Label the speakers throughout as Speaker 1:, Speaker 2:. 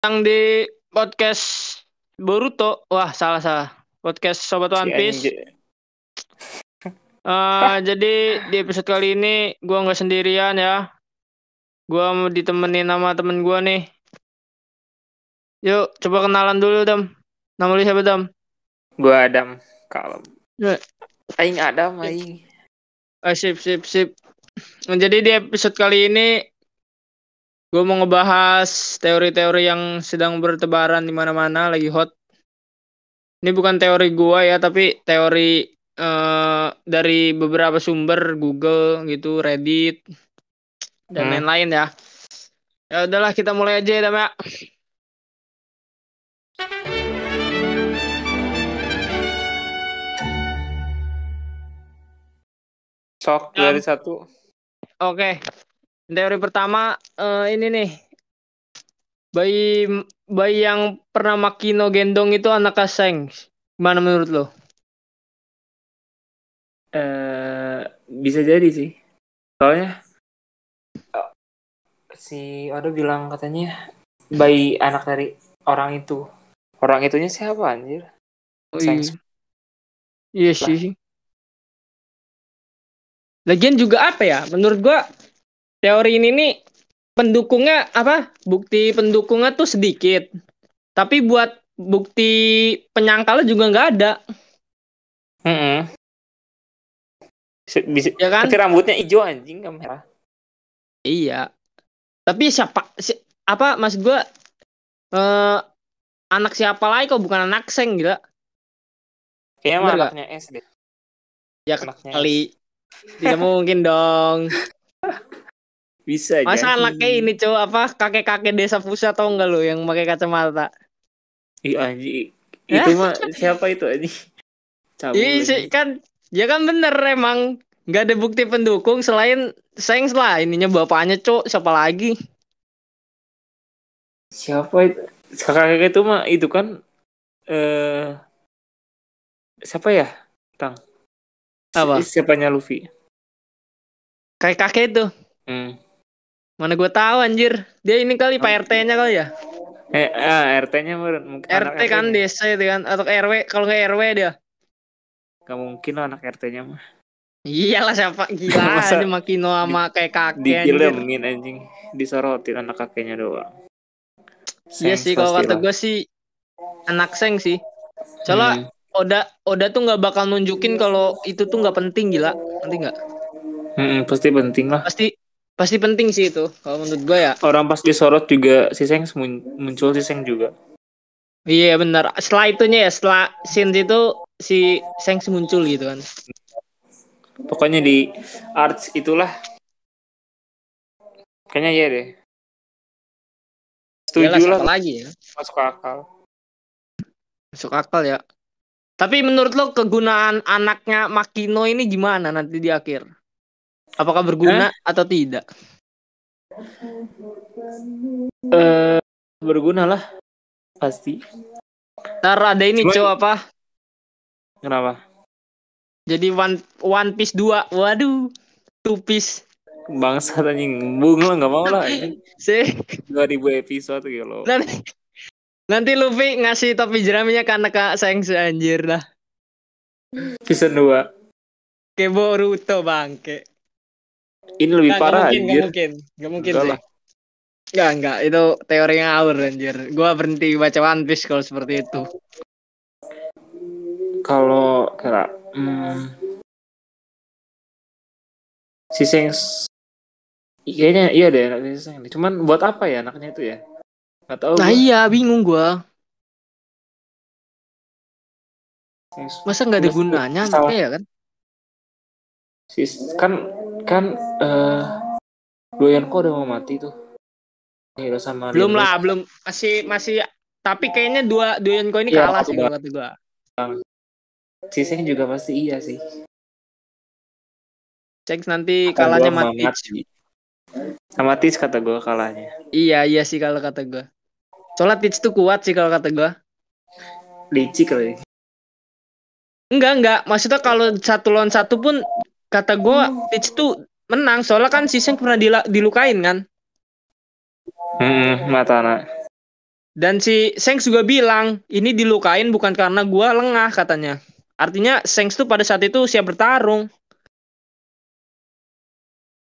Speaker 1: yang di podcast Boruto. Wah, salah salah. Podcast Sobat
Speaker 2: Iya,
Speaker 1: One Piece.
Speaker 2: Si anjing.
Speaker 1: Eh, jadi di episode kali ini gua nggak sendirian ya. Gua mau ditemenin sama temen gua nih. Yuk, coba kenalan dulu, Dam. Nama lu siapa, Dam?
Speaker 2: Gua Adam kalem.
Speaker 1: Ya.
Speaker 2: Aing Adam aing.
Speaker 1: Eh, sip, sip, sip. Nah, Jadi di episode kali ini gue mau ngebahas teori-teori yang sedang bertebaran di mana-mana lagi hot. Ini bukan teori gua ya, tapi teori eh, dari beberapa sumber Google gitu, Reddit dan
Speaker 2: Hmm.
Speaker 1: lain-lain ya. Ya udahlah kita mulai aja ya, Dam ya.
Speaker 2: Sok
Speaker 1: Adam.
Speaker 2: dari satu.
Speaker 1: Oke. Teori pertama eh, ini nih. Bayi bayi yang pernah Makino gendong itu anak Kaseng. Gimana menurut lo?
Speaker 2: Eh bisa jadi sih. Soalnya eh, si Odo bilang katanya bayi anak dari orang itu. Orang itunya siapa anjir?
Speaker 1: Oh,
Speaker 2: Seng.
Speaker 1: iya. Iya sih. Lagian juga apa ya? Menurut gua teori ini nih pendukungnya apa? Bukti pendukungnya tuh sedikit. Tapi buat bukti penyangkalnya juga nggak ada,
Speaker 2: Heeh. Se- Bisa,
Speaker 1: ya kan?
Speaker 2: tapi rambutnya hijau anjing nggak merah.
Speaker 1: Iya. Tapi siapa si, apa maksud gua eh anak siapa lagi kok bukan anak seng gila.
Speaker 2: Kayaknya mah
Speaker 1: Bener nggak?
Speaker 2: anaknya S deh.
Speaker 1: Ya
Speaker 2: Anaknya
Speaker 1: kali. Tidak mungkin dong.
Speaker 2: Bisa
Speaker 1: Masa
Speaker 2: jadi.
Speaker 1: anaknya ini cowok apa kakek-kakek desa pusat tau enggak lo yang pakai kacamata?
Speaker 2: Ih anjing.
Speaker 1: Ya?
Speaker 2: Itu mah siapa itu anjing? Cabul
Speaker 1: Iya
Speaker 2: lagi.
Speaker 1: sih, kan ya kan bener emang nggak ada bukti pendukung selain seng lah ininya bapaknya cowok siapa lagi?
Speaker 2: siapa itu kakak itu mah itu kan eh siapa ya Si-
Speaker 1: Apa?
Speaker 2: siapanya Luffy
Speaker 1: Kakek-kakek itu.
Speaker 2: hmm.
Speaker 1: Mana gue tahu anjir. Dia ini kali Pak RT-nya kali ya.
Speaker 2: eh ah, RT-nya mungkin anak
Speaker 1: RT kan
Speaker 2: RT-nya.
Speaker 1: desa itu kan atau RW kalau nggak RW dia
Speaker 2: nggak mungkin lah anak RT-nya mah
Speaker 1: Iyalah siapa gila
Speaker 2: Masa
Speaker 1: aja Makino sama kayak kakek anjir.
Speaker 2: digelemin anjing disorotin anak kakeknya doang
Speaker 1: Iya
Speaker 2: Sengs
Speaker 1: sih kalau
Speaker 2: pastilah.
Speaker 1: kata gue sih anak seng sih. Soalnya
Speaker 2: Hmm.
Speaker 1: Oda Oda tuh nggak bakal nunjukin kalau itu tuh nggak penting gila. Nanti nggak?
Speaker 2: Mm-mm, Hmm, pasti penting lah
Speaker 1: Pasti pasti penting sih itu kalau menurut gue ya.
Speaker 2: orang pas disorot juga si Sengs mun- muncul si Sengs juga
Speaker 1: Iya benar. Setelah itunya ya setelah scene itu si Sengs muncul gitu kan.
Speaker 2: pokoknya di arts itulah kayaknya iya deh
Speaker 1: Iyalah,
Speaker 2: setuju lah
Speaker 1: siapa lagi ya.
Speaker 2: masuk akal
Speaker 1: Masuk akal ya. Tapi menurut lo kegunaan anaknya Makino ini gimana nanti di akhir? Apakah berguna atau tidak?
Speaker 2: eh berguna lah pasti
Speaker 1: Ntar ada ini
Speaker 2: Cuman-
Speaker 1: cowok apa?
Speaker 2: kenapa
Speaker 1: Jadi One One Piece 2. Waduh. Two Piece.
Speaker 2: bangsa anjing bung lah nggak mau Oh, lah
Speaker 1: Sih.
Speaker 2: dua ribu episode gitu loh
Speaker 1: Nanti, nanti Luffy ngasih topi jeraminya ke anak Kak Seng anjir dah.
Speaker 2: season dua
Speaker 1: Kayak Boruto bangke.
Speaker 2: ini lebih
Speaker 1: Nah, nggak
Speaker 2: parah
Speaker 1: mungkin, nggak
Speaker 2: anjir
Speaker 1: mungkin. Nggak mungkin
Speaker 2: Enggak
Speaker 1: sih.
Speaker 2: lah.
Speaker 1: Enggak, enggak. Itu teori ngawur anjir. Gua berhenti baca One Piece kalau seperti itu.
Speaker 2: kalau kira hmm, si Sengs kayaknya iya deh anak si Sengs cuman buat apa ya anaknya itu ya nggak tahu
Speaker 1: Nah
Speaker 2: gua.
Speaker 1: iya, bingung gua.
Speaker 2: Sengs.
Speaker 1: masa nggak ada
Speaker 2: Terus-
Speaker 1: gunanya
Speaker 2: terus-
Speaker 1: anaknya ya kan
Speaker 2: Sis, kan kan eh doyan kok udah mau mati tuh ya udah sama
Speaker 1: belum
Speaker 2: Ringo
Speaker 1: lah belum masih masih tapi kayaknya dua Doyenko ini
Speaker 2: Iya,
Speaker 1: kalah sih
Speaker 2: udah.
Speaker 1: kalau kata gua
Speaker 2: si Sengs juga pasti iya sih
Speaker 1: cek nanti
Speaker 2: Kata
Speaker 1: kalahnya
Speaker 2: gua
Speaker 1: sama
Speaker 2: mah
Speaker 1: Teach.
Speaker 2: mati. Sama Teach kata gue kalahnya.
Speaker 1: iya iya sih kalau kata gua soalnya Teach tuh kuat sih kalau kata gua
Speaker 2: Licik kali.
Speaker 1: enggak enggak maksudnya kalau satu lawan satu pun kata gua Teach tuh menang soalnya kan si Seng pernah dila- dilukain kan
Speaker 2: Hmm, mata anak.
Speaker 1: Dan si Sengs juga bilang, ini dilukain bukan karena gua lengah katanya. Artinya Sengs tuh pada saat itu siap bertarung.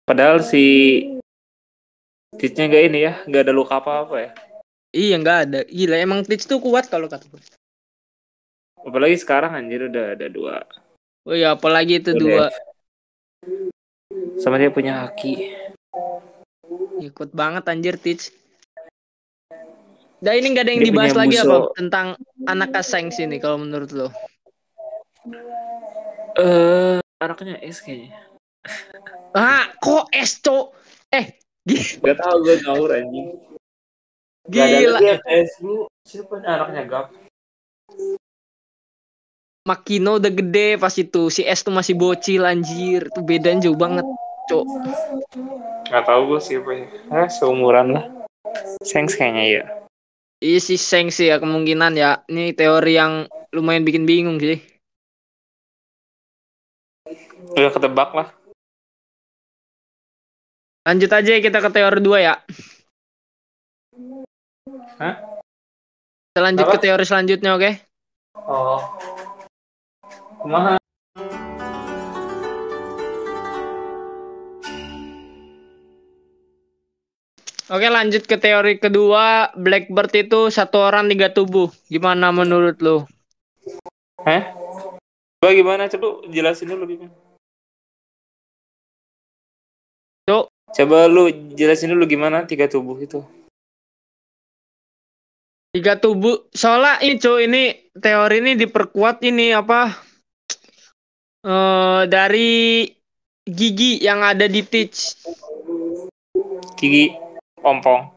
Speaker 2: Padahal si Titnya nggak ini ya, nggak ada luka apa-apa ya.
Speaker 1: Iya nggak ada. Gila emang Tich tuh kuat kalau kata gue.
Speaker 2: Apalagi sekarang anjir udah ada dua.
Speaker 1: Oh iya apalagi itu
Speaker 2: Udah.
Speaker 1: dua.
Speaker 2: Sama dia punya haki.
Speaker 1: Ikut banget anjir Tich. Dah ini nggak ada yang
Speaker 2: Dia
Speaker 1: dibahas
Speaker 2: punya
Speaker 1: lagi
Speaker 2: musuh.
Speaker 1: apa tentang anak Sengs ini kalau menurut lo?
Speaker 2: Eh, anaknya S kayaknya.
Speaker 1: Ah, kok es Cok? Eh,
Speaker 2: Gak tau gue ngawur anjing.
Speaker 1: gila.
Speaker 2: Gak ada S lu, siapa anaknya gap?
Speaker 1: Makino udah gede pas itu. Si S tuh masih bocil anjir. Tuh bedanya jauh banget, Cok.
Speaker 2: Gak tau gue siapa ya. Eh, seumuran lah. Sengs kayaknya ya.
Speaker 1: Iya si Seng sih ya kemungkinan ya. Ini teori yang lumayan bikin bingung sih.
Speaker 2: Udah ketebak lah.
Speaker 1: Lanjut aja kita ke teori 2 ya.
Speaker 2: Hah?
Speaker 1: Kita lanjut
Speaker 2: Apa?
Speaker 1: ke teori selanjutnya, oke?
Speaker 2: Oh. Kumaha?
Speaker 1: Oke, lanjut ke teori kedua. Blackbird itu satu orang tiga tubuh. Gimana menurut lo?
Speaker 2: Hah? Coba gimana? Coba jelasin dulu gimana.
Speaker 1: Cuk.
Speaker 2: Coba lu jelasin dulu gimana tiga tubuh itu.
Speaker 1: Tiga tubuh. Soalnya ini, Cuk, ini teori ini diperkuat ini apa? Eh dari gigi yang ada di Teach.
Speaker 2: Gigi ompong.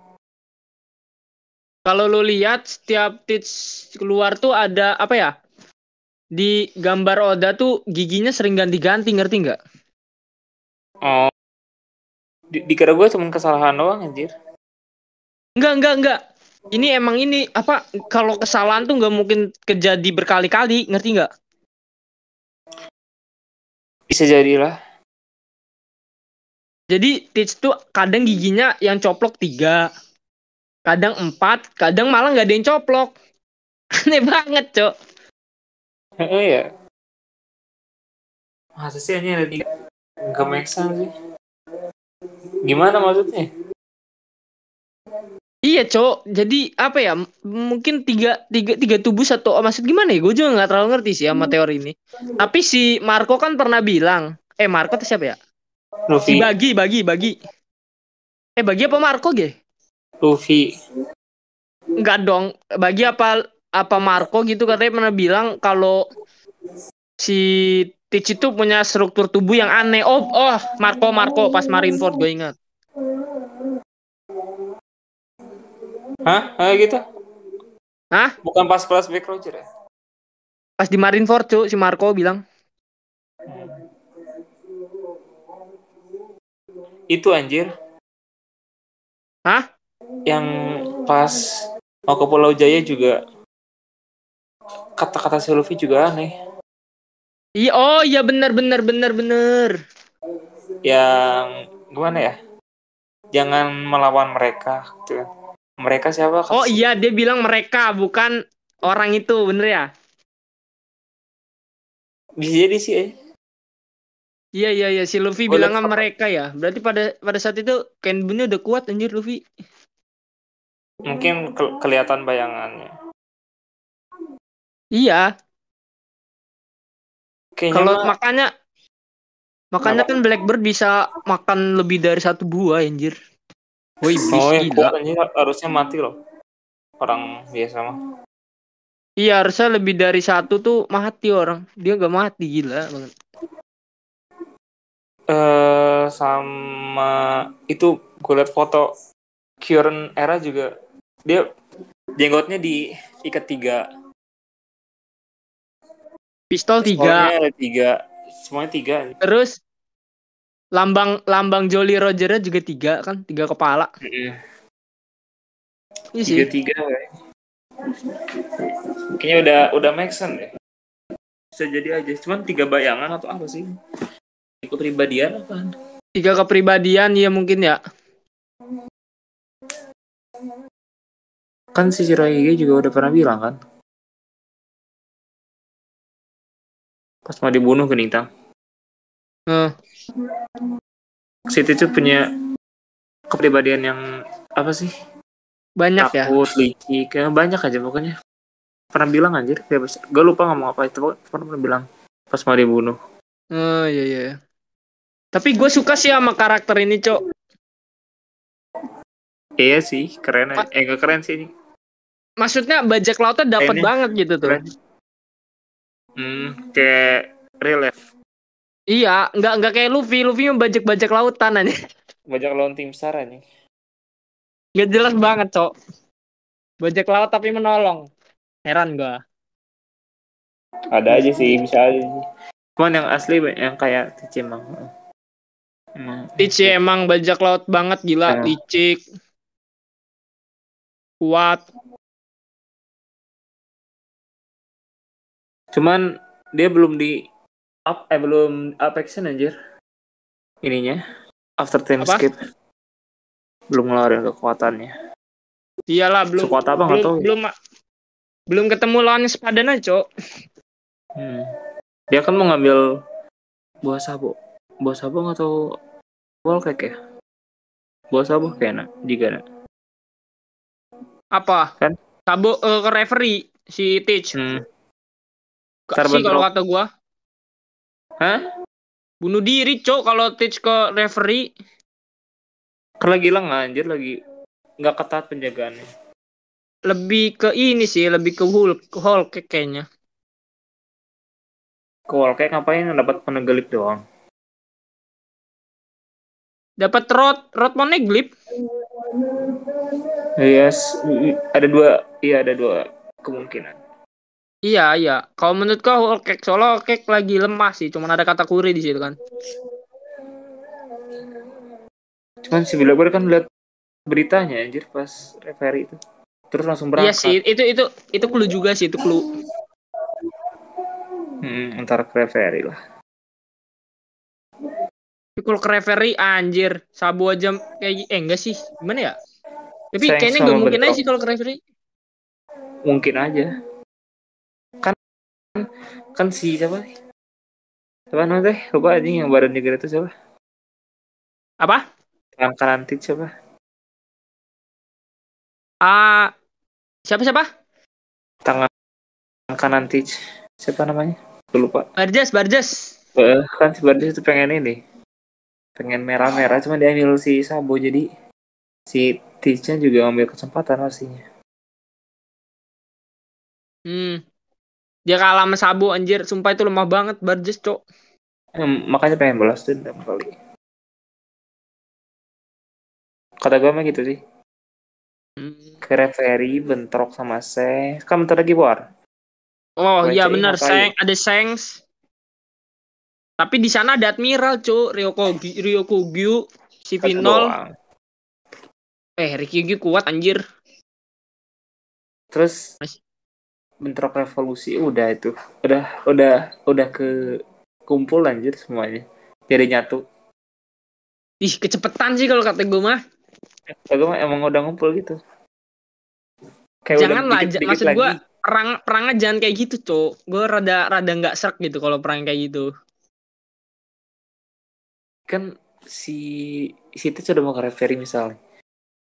Speaker 1: Kalau lu lihat setiap Teach keluar tuh ada apa ya? Di gambar Oda tuh giginya sering ganti-ganti, ngerti nggak?
Speaker 2: Oh. Di, dikira gue cuma kesalahan doang anjir.
Speaker 1: Enggak, enggak, enggak. Ini emang ini apa kalau kesalahan tuh nggak mungkin kejadi berkali-kali, ngerti nggak?
Speaker 2: Bisa jadilah.
Speaker 1: Jadi Teach tuh kadang giginya yang coplok tiga, kadang empat, kadang malah nggak ada yang coplok. Aneh banget, Cok.
Speaker 2: Heeh ya. Masa sih hanya ada tiga? Gak make sense sih. Gimana maksudnya?
Speaker 1: Iya, Cok. Jadi apa ya? m- Mungkin tiga, tiga, tiga tubuh satu oh, maksud gimana ya? Gue juga nggak terlalu ngerti sih sama teori ini. Tapi si Marco kan pernah bilang, eh Marco tuh siapa ya? Si
Speaker 2: Luffy,
Speaker 1: Bagi, Bagi, Bagi. Eh Bagi apa Marco ge?
Speaker 2: Luffy.
Speaker 1: Enggak dong. Bagi apa apa Marco gitu katanya pernah bilang kalau si Tich itu punya struktur tubuh yang aneh. Oh, oh, Marco Marco pas Marineford gue ingat.
Speaker 2: Hah? Hah gitu?
Speaker 1: Hah?
Speaker 2: Bukan pas pas back Roger ya?
Speaker 1: Pas di Marineford cuy si Marco bilang.
Speaker 2: Itu anjir.
Speaker 1: Hah?
Speaker 2: Yang pas mau ke Pulau Jaya juga kata-kata si Luffy juga aneh.
Speaker 1: Iya, oh iya benar benar benar benar.
Speaker 2: Yang gimana ya? Jangan melawan mereka gitu kan. Mereka siapa? Kata
Speaker 1: Oh
Speaker 2: si-
Speaker 1: iya dia bilang mereka bukan orang itu, bener ya?
Speaker 2: Bisa jadi sih. eh.
Speaker 1: Iya iya iya si Luffy
Speaker 2: Gua
Speaker 1: bilang
Speaker 2: liat
Speaker 1: sama mereka ya. Berarti pada pada saat itu Kenbunnya udah kuat anjir Luffy.
Speaker 2: Mungkin ke- kelihatan bayangannya.
Speaker 1: Iya,
Speaker 2: Kayaknya
Speaker 1: kalau
Speaker 2: mah-
Speaker 1: makanya makanya kan Blackbird bisa makan lebih dari satu buah anjir. Woi,
Speaker 2: oh, yang
Speaker 1: iblis gila.
Speaker 2: kuat anjir harusnya mati loh. Orang biasa mah.
Speaker 1: Iya, harusnya lebih dari satu tuh mati orang. Dia nggak mati gila banget.
Speaker 2: eh sama itu gue liat foto Kieran Era juga dia jenggotnya diikat tiga Oh,
Speaker 1: Pistol tiga,
Speaker 2: Soalnya ada tiga semuanya tiga
Speaker 1: terus lambang lambang Jolly Roger juga tiga kan, tiga kepala. Iya sih.
Speaker 2: tiga tiga kayaknya udah udah make sense deh bisa jadi aja cuman tiga bayangan atau apa sih kepribadian apa
Speaker 1: tiga iya kepribadian ya mungkin ya
Speaker 2: Kan si Shirohige juga udah pernah bilang kan. Pas mau dibunuh Genintang.
Speaker 1: Eh,
Speaker 2: Si itu punya kepribadian yang apa sih?
Speaker 1: banyak ya.
Speaker 2: Takut, licik, ya, banyak aja pokoknya. Pernah bilang anjir, gue lupa ngomong apa itu, pokoknya pernah, pernah bilang pas mau dibunuh.
Speaker 1: Oh iya iya. Tapi gue suka sih sama karakter ini, Cok.
Speaker 2: Iya sih, keren aja.
Speaker 1: Ma-
Speaker 2: Eh, gak keren sih ini.
Speaker 1: Maksudnya bajak lautnya dapat
Speaker 2: Ini
Speaker 1: banget gitu tuh.
Speaker 2: keren. Hmm, kayak ya. relief.
Speaker 1: Iya, nggak nggak kayak Luffy. Luffy mah bajak-bajak lautan aja.
Speaker 2: Bajak lawan tim besar aja.
Speaker 1: Nggak jelas banget, Cok. Bajak laut tapi menolong. Heran gua.
Speaker 2: Ada aja sih, bisa aja sih. Cuman yang asli yang kayak Cimang. Hmm.
Speaker 1: Tici emang bajak laut banget gila,
Speaker 2: Nah.
Speaker 1: licik. Kuat.
Speaker 2: Cuman dia belum di up eh belum up action anjir. Ininya after time
Speaker 1: Apa?
Speaker 2: skip. Belum ngeluarin kekuatannya.
Speaker 1: Iyalah belum
Speaker 2: Sekuat apa enggak
Speaker 1: belum,
Speaker 2: tahu. ya.
Speaker 1: belum belum ketemu lawan sepadan aja, Cok.
Speaker 2: Hmm. Dia kan mau ngambil buah sabu. Buah sabu enggak tahu wall cake ya. Buah sabu kayaknya jika nak.
Speaker 1: Apa?
Speaker 2: Kan?
Speaker 1: Sabo eh, ke referee si Teach.
Speaker 2: Hmm.
Speaker 1: Ka-
Speaker 2: Carbon
Speaker 1: sih kalau
Speaker 2: Rock.
Speaker 1: kata gua.
Speaker 2: Hah?
Speaker 1: Bunuh diri, Cok, kalau Teach ke referee.
Speaker 2: Kan lagi lengah anjir lagi nggak ketat penjagaannya.
Speaker 1: Lebih ke ini sih, lebih ke Hulk, Hulk kayak- kayaknya.
Speaker 2: Ke wall cake ngapain dapat penegelik doang.
Speaker 1: Dapat Rod, Rod Moneglip.
Speaker 2: Yes, mm, ada dua, iya ada dua kemungkinan.
Speaker 1: Iya, iya. Kalau menurut kau Hulk kayak- soalnya Hulk kayak lagi lemah sih, cuman ada kata kuri di situ kan.
Speaker 2: Cuman si Billy kan lihat beritanya anjir pas referee itu. Terus langsung
Speaker 1: Iya
Speaker 2: berangkat.
Speaker 1: sih, itu itu itu clue juga sih, itu clue.
Speaker 2: Hmm, antar ke referee lah.
Speaker 1: Tapi kalau ke referee anjir, Sabu aja kayak eh enggak sih, gimana ya? Tapi
Speaker 2: Sayang
Speaker 1: kayaknya
Speaker 2: sama
Speaker 1: nggak mungkin aja
Speaker 2: bentrok.
Speaker 1: sih kalau ke referee.
Speaker 2: Mungkin aja. Kan kan si siapa? Siapa namanya teh? Lupa anjing yang badannya gede itu siapa?
Speaker 1: Apa?
Speaker 2: Tangan kanan tit siapa?
Speaker 1: Ah, siapa siapa?
Speaker 2: Tangan tangan kanan tit. Siapa namanya? Gue lupa.
Speaker 1: Barjas, Barjas.
Speaker 2: Eh, kan si Bardes itu pengen ini. Pengen merah-merah cuman dia ambil si Sabo jadi si Tisnya juga ambil kesempatan pastinya.
Speaker 1: Hmm. Dia kalah sama Sabu anjir, sumpah itu lemah banget Barjas, Cok.
Speaker 2: Em, makanya pengen balas dendam kali kata gue mah gitu sih
Speaker 1: Hmm.
Speaker 2: ke referee bentrok sama Seng kan bentar lagi war
Speaker 1: Oh
Speaker 2: Gua
Speaker 1: iya
Speaker 2: aja
Speaker 1: benar,
Speaker 2: ingat
Speaker 1: Seng, ada Sengs. Tapi di sana ada Admiral, Cok. Ryokogi, Ryokugyu, si
Speaker 2: Satu
Speaker 1: Vinol.
Speaker 2: doang.
Speaker 1: Eh, Ryokugyu kuat anjir.
Speaker 2: terus
Speaker 1: Mas-
Speaker 2: bentrok revolusi udah itu udah udah udah ke kumpul anjir semuanya jadi nyatu
Speaker 1: Ih, kecepetan sih kalau kata gue mah.
Speaker 2: kata gue mah emang udah ngumpul gitu kayak
Speaker 1: jangan lah, ja-
Speaker 2: Eh, dikit-dikit
Speaker 1: maksud
Speaker 2: lagi.
Speaker 1: gue perang perangnya jangan kayak gitu, Cok. Gue rada rada nggak serak gitu kalau perang kayak gitu.
Speaker 2: kan si si itu sudah mau ke referee misalnya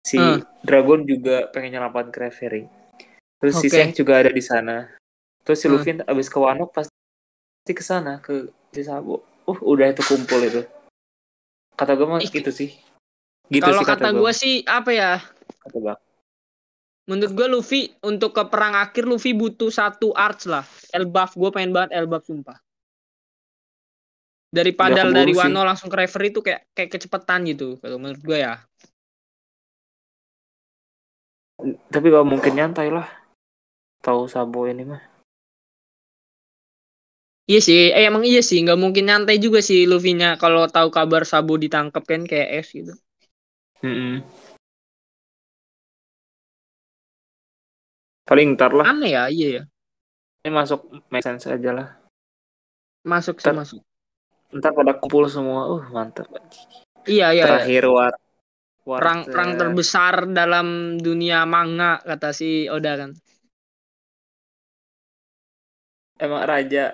Speaker 2: si
Speaker 1: Hmm.
Speaker 2: Dragon juga pengen nyelamatkan ke referee terus si
Speaker 1: Oke.
Speaker 2: Seng juga ada di sana terus si
Speaker 1: Hmm.
Speaker 2: Luffy abis ke Wano pasti ke sana ke si Sabo uh udah itu kumpul itu kata gue mah
Speaker 1: Ih.
Speaker 2: gitu sih gitu
Speaker 1: kalau
Speaker 2: sih kata,
Speaker 1: kata
Speaker 2: gue
Speaker 1: gue sih apa ya?
Speaker 2: kata gue
Speaker 1: Menurut gue Luffy untuk ke perang akhir Luffy butuh satu arch lah. Elbaf gue pengen banget Elbaf sumpah. Daripada
Speaker 2: Nggak keburu
Speaker 1: dari
Speaker 2: Iya, sih.
Speaker 1: Wano langsung ke referee itu kayak kayak kecepetan gitu kalau menurut gue ya.
Speaker 2: tapi gak mungkin nyantai lah tahu Sabo ini mah
Speaker 1: Iya sih, eh, emang iya sih, nggak mungkin nyantai juga sih Luffy-nya kalau tahu kabar Sabu ditangkap kan kayak es gitu.
Speaker 2: Mm-mm. paling ntar lah
Speaker 1: Aneh ya, iya ya.
Speaker 2: ini masuk make sense aja lah
Speaker 1: Masuk sih
Speaker 2: Ter-
Speaker 1: masuk.
Speaker 2: ntar pada kumpul semua uh mantap
Speaker 1: Iya iya. iya.
Speaker 2: terakhir war
Speaker 1: perang perang terbesar dalam dunia manga kata si Oda kan
Speaker 2: emang raja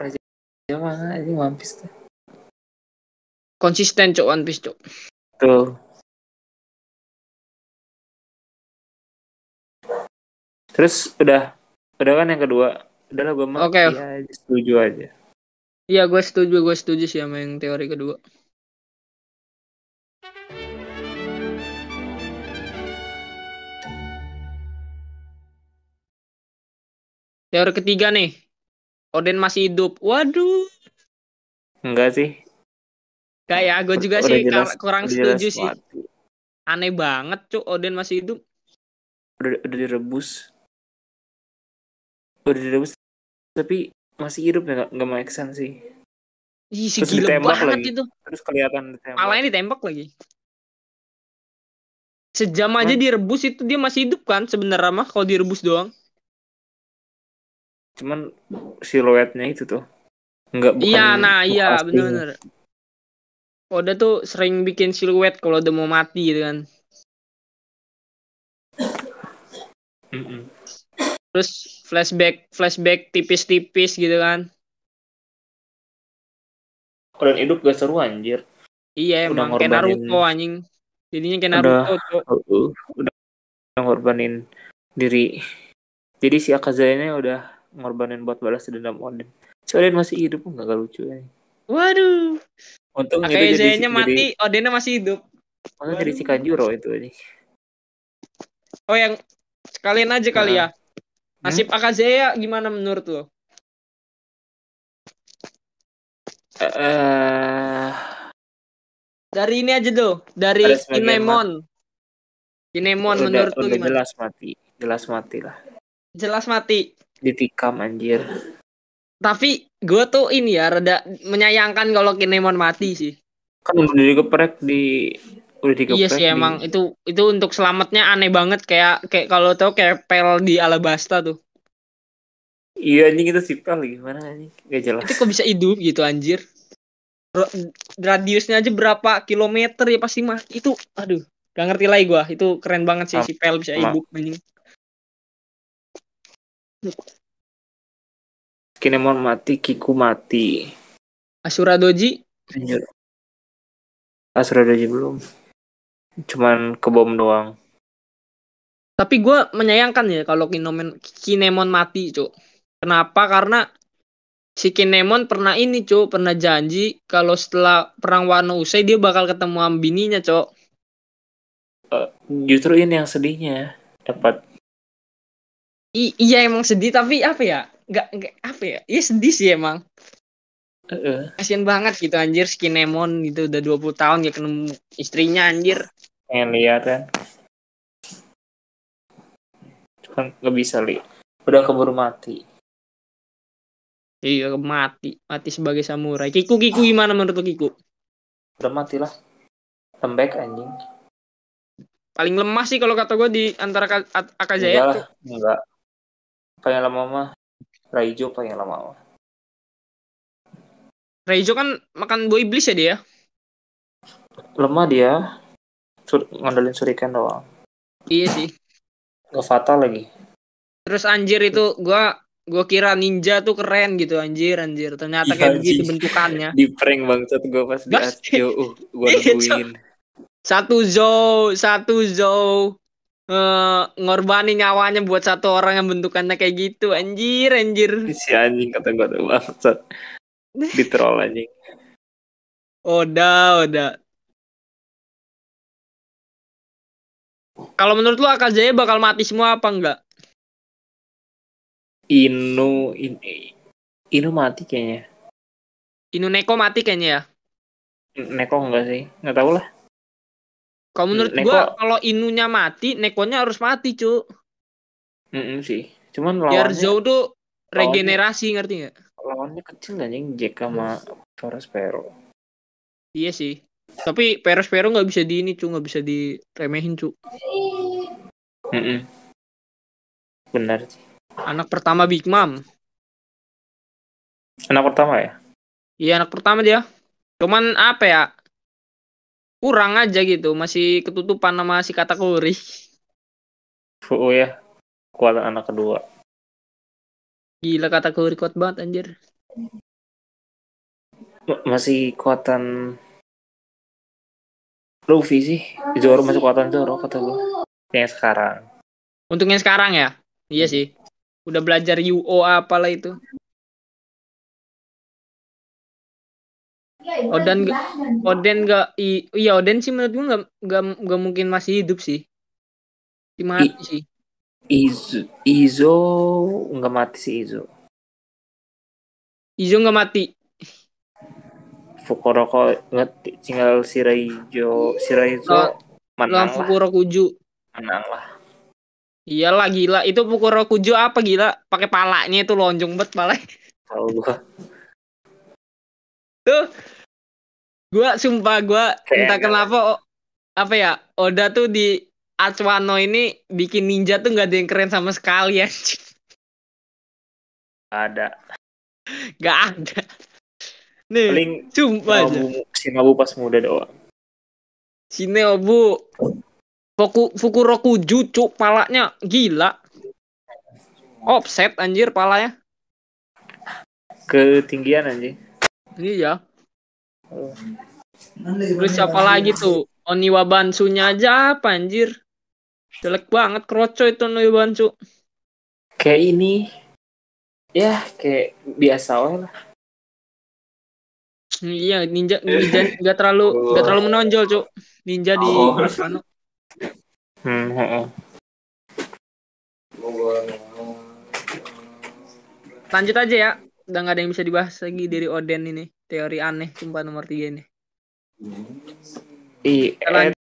Speaker 2: raja raja mana ini One Piece tuh
Speaker 1: konsisten cok One Piece cok
Speaker 2: tuh terus udah udah kan yang kedua udahlah gue mah
Speaker 1: Oke.
Speaker 2: iya aja, setuju aja
Speaker 1: iya gue setuju gue setuju sih sama yang teori kedua teori ketiga nih Oden masih hidup waduh
Speaker 2: enggak sih
Speaker 1: kayak gue juga
Speaker 2: Udah
Speaker 1: sih
Speaker 2: jelas-
Speaker 1: kar- kurang
Speaker 2: udah jelas
Speaker 1: setuju sih
Speaker 2: mati.
Speaker 1: aneh banget cok Oden masih hidup
Speaker 2: udah, udah direbus udah direbus tapi masih hidup ya nggak nggak make sense sih
Speaker 1: Ih, si
Speaker 2: Terus
Speaker 1: gila
Speaker 2: ditembak
Speaker 1: banget
Speaker 2: lagi.
Speaker 1: itu.
Speaker 2: terus kelihatan ditembak.
Speaker 1: Palanya ditembak lagi. Sejam aja direbus itu dia masih hidup kan sebenarnya mah kalau direbus doang.
Speaker 2: cuman siluetnya itu tuh nggak bukan
Speaker 1: iya, nah iya
Speaker 2: aslinya.
Speaker 1: bener-bener. Oda tuh sering bikin siluet kalau udah mau mati gitu kan.
Speaker 2: Mm-mm.
Speaker 1: Terus flashback flashback tipis-tipis gitu kan.
Speaker 2: Orang hidup gak seru anjir.
Speaker 1: Iya
Speaker 2: Udah
Speaker 1: emang kayak
Speaker 2: ngorbanin.
Speaker 1: Naruto anjing. Jadinya kayak
Speaker 2: Udah.
Speaker 1: Naruto cok.
Speaker 2: Udah, udah ngorbanin diri. Jadi si Akazaya ini udah ngorbanin buat balas dendam Oden. Si Oden masih hidup nggak gak lucu ya.
Speaker 1: Waduh.
Speaker 2: Untung itu jadi,
Speaker 1: Kayaknya
Speaker 2: jadi,
Speaker 1: mati, Odennya masih hidup.
Speaker 2: untung jadi si Kanjuro itu aja.
Speaker 1: Oh yang sekalian aja kali ya.
Speaker 2: Nah.
Speaker 1: Nasib Akazeya gimana menurut lo?
Speaker 2: Eh,
Speaker 1: Dari ini aja tuh, dari
Speaker 2: Ada sebagian
Speaker 1: Kinemon. Kinemon
Speaker 2: udah,
Speaker 1: menurut lo
Speaker 2: udah
Speaker 1: gimana?
Speaker 2: jelas mati, jelas mati lah.
Speaker 1: Jelas mati.
Speaker 2: Ditikam anjir.
Speaker 1: Tapi gue tuh ini ya rada menyayangkan kalau Kinemon mati sih.
Speaker 2: Kan udah digeprek di udah digeprek.
Speaker 1: iya sih
Speaker 2: di-
Speaker 1: emang itu itu untuk selamatnya aneh banget kayak kayak kalau tau kayak pel di Alabasta tuh.
Speaker 2: Iya anjing itu sipel gimana anjing? Gak jelas.
Speaker 1: Itu kok bisa hidup gitu anjir. Ro- Radiusnya aja berapa kilometer ya pasti mati itu. Aduh, gak ngerti lagi gua. Itu keren banget sih si pel bisa
Speaker 2: Sama.
Speaker 1: hidup anjing.
Speaker 2: Kinemon mati, Kiku mati.
Speaker 1: Asura Doji
Speaker 2: Anjir. Asura Doji Ah, belum. Cuman ke bom doang.
Speaker 1: Tapi gue menyayangkan ya kalau Kinomen, Kinemon mati, Cuk. Kenapa? Karena si Kinemon pernah ini, Cuk. Pernah janji kalau setelah perang Wano usai dia bakal ketemu sama bininya, Cuk.
Speaker 2: Justru ini yang sedihnya. Dapat
Speaker 1: I- iya emang sedih, tapi apa ya? Nggak, nggak apa ya? Iya sedih sih emang.
Speaker 2: eh,
Speaker 1: Kasian banget gitu anjir si Kinemon gitu udah 20 tahun gak ketemu istrinya anjir.
Speaker 2: pengen lihat kan. Cuman nggak bisa li. Udah keburu mati.
Speaker 1: Iya mati, mati sebagai samurai. Kiku Kiku gimana menurut lu, Kiku?
Speaker 2: Udah mati lah. Lembek anjing.
Speaker 1: Paling lemah sih kalau kata gue di antara Ka- Ak-
Speaker 2: Enggak
Speaker 1: Akazaya.
Speaker 2: Iya lah. Enggak. Pengen lama mah. Raijo pengen lama mah.
Speaker 1: Reijo kan makan buah iblis ya dia. ya?
Speaker 2: Lemah dia. Sur ngandelin suriken doang.
Speaker 1: Iya sih.
Speaker 2: Nggak fatal lagi.
Speaker 1: Terus anjir itu gua gua kira ninja tuh keren gitu anjir anjir. Ternyata
Speaker 2: Iya,
Speaker 1: kayak begitu
Speaker 2: anjing.
Speaker 1: bentukannya.
Speaker 2: Di prank bangsat gue pas di
Speaker 1: Gas.
Speaker 2: Asjo. Uh, gue
Speaker 1: Iya, Cok.
Speaker 2: nungguin.
Speaker 1: Satu Zou, satu Zou eh ngorbanin nyawanya buat satu orang yang bentukannya kayak gitu anjir anjir
Speaker 2: si anjing kata gue tuh bangsat di troll anjing
Speaker 1: Oda Oda kalau menurut lu Akazaya bakal mati semua apa enggak
Speaker 2: Inu in, Inu mati kayaknya
Speaker 1: Inuneko mati kayaknya ya
Speaker 2: Neko enggak sih nggak tahu lah
Speaker 1: kalau menurut
Speaker 2: Neko-
Speaker 1: gua kalau Inunya mati Nekonya harus mati cu
Speaker 2: Mm-mm sih cuman
Speaker 1: biar
Speaker 2: lawannya
Speaker 1: Zou tuh
Speaker 2: lawannya-
Speaker 1: regenerasi ngerti nggak
Speaker 2: lawannya kecil anjing Jack sama Forest Pero
Speaker 1: Iya sih. Tapi Peres Pero nggak bisa di ini cu, nggak bisa diremehin cu.
Speaker 2: Mm-mm. benar sih
Speaker 1: Anak pertama Big Mom.
Speaker 2: anak pertama ya
Speaker 1: Iya anak pertama dia. Cuman apa ya? kurang aja gitu masih ketutupan sama si kategori
Speaker 2: Oh ya, kekuatan anak kedua.
Speaker 1: gila kategori kuat banget anjir
Speaker 2: M- masih kekuatan Luffy sih. Zoro masih kekuatan Zoro kata gue. Yang sekarang.
Speaker 1: untungnya sekarang ya iya sih udah belajar UO apalah itu Odan nggak- Oden gak i, iya Oden sih menurut gue gak, gak, mungkin masih hidup sih Pasti mati sih
Speaker 2: Izo, Izo nggak mati sih Izo.
Speaker 1: Izo gak mati
Speaker 2: Fukuroko ngerti tinggal Shiraijo, Shiraijo
Speaker 1: Lo- lawan
Speaker 2: menang lah,
Speaker 1: Fukurokuju
Speaker 2: menang lah.
Speaker 1: iyalah gila itu Fukurokuju apa gila pakai palanya itu lonjong banget pala
Speaker 2: Kalau gua
Speaker 1: gua sumpah gua
Speaker 2: Kayak
Speaker 1: entah
Speaker 2: nggak-
Speaker 1: kenapa o- apa ya Oda tuh di Atsuwano ini bikin ninja tuh nggak ada yang keren sama sekali anjing
Speaker 2: nggak ada.
Speaker 1: nggak ada nih
Speaker 2: Paling
Speaker 1: sumpah Eh, aja
Speaker 2: Shinobu, Shinobu pas muda doang.
Speaker 1: Shinobu Foku, Fukurokuju cuk palanya gila offset anjir palanya
Speaker 2: Ketinggian anjing.
Speaker 1: iya
Speaker 2: Oh.
Speaker 1: terus siapa lagi tuh Oniwa Bansunya aja apa anjir jelek banget kroco itu Oniwa Bansu
Speaker 2: Kayak ini, ya kayak biasa aja lah.
Speaker 1: Iya, ninja ninja nggak terlalu nggak terlalu menonjol, Cuk. Ninja di
Speaker 2: Oh.
Speaker 1: Asano.
Speaker 2: Hmm, heeh.
Speaker 1: Lanjut aja ya. Udah nggak ada yang bisa dibahas lagi dari Oden ini. Teori aneh sumpah nomor tiga ini.
Speaker 2: Iya,
Speaker 1: Lanjut.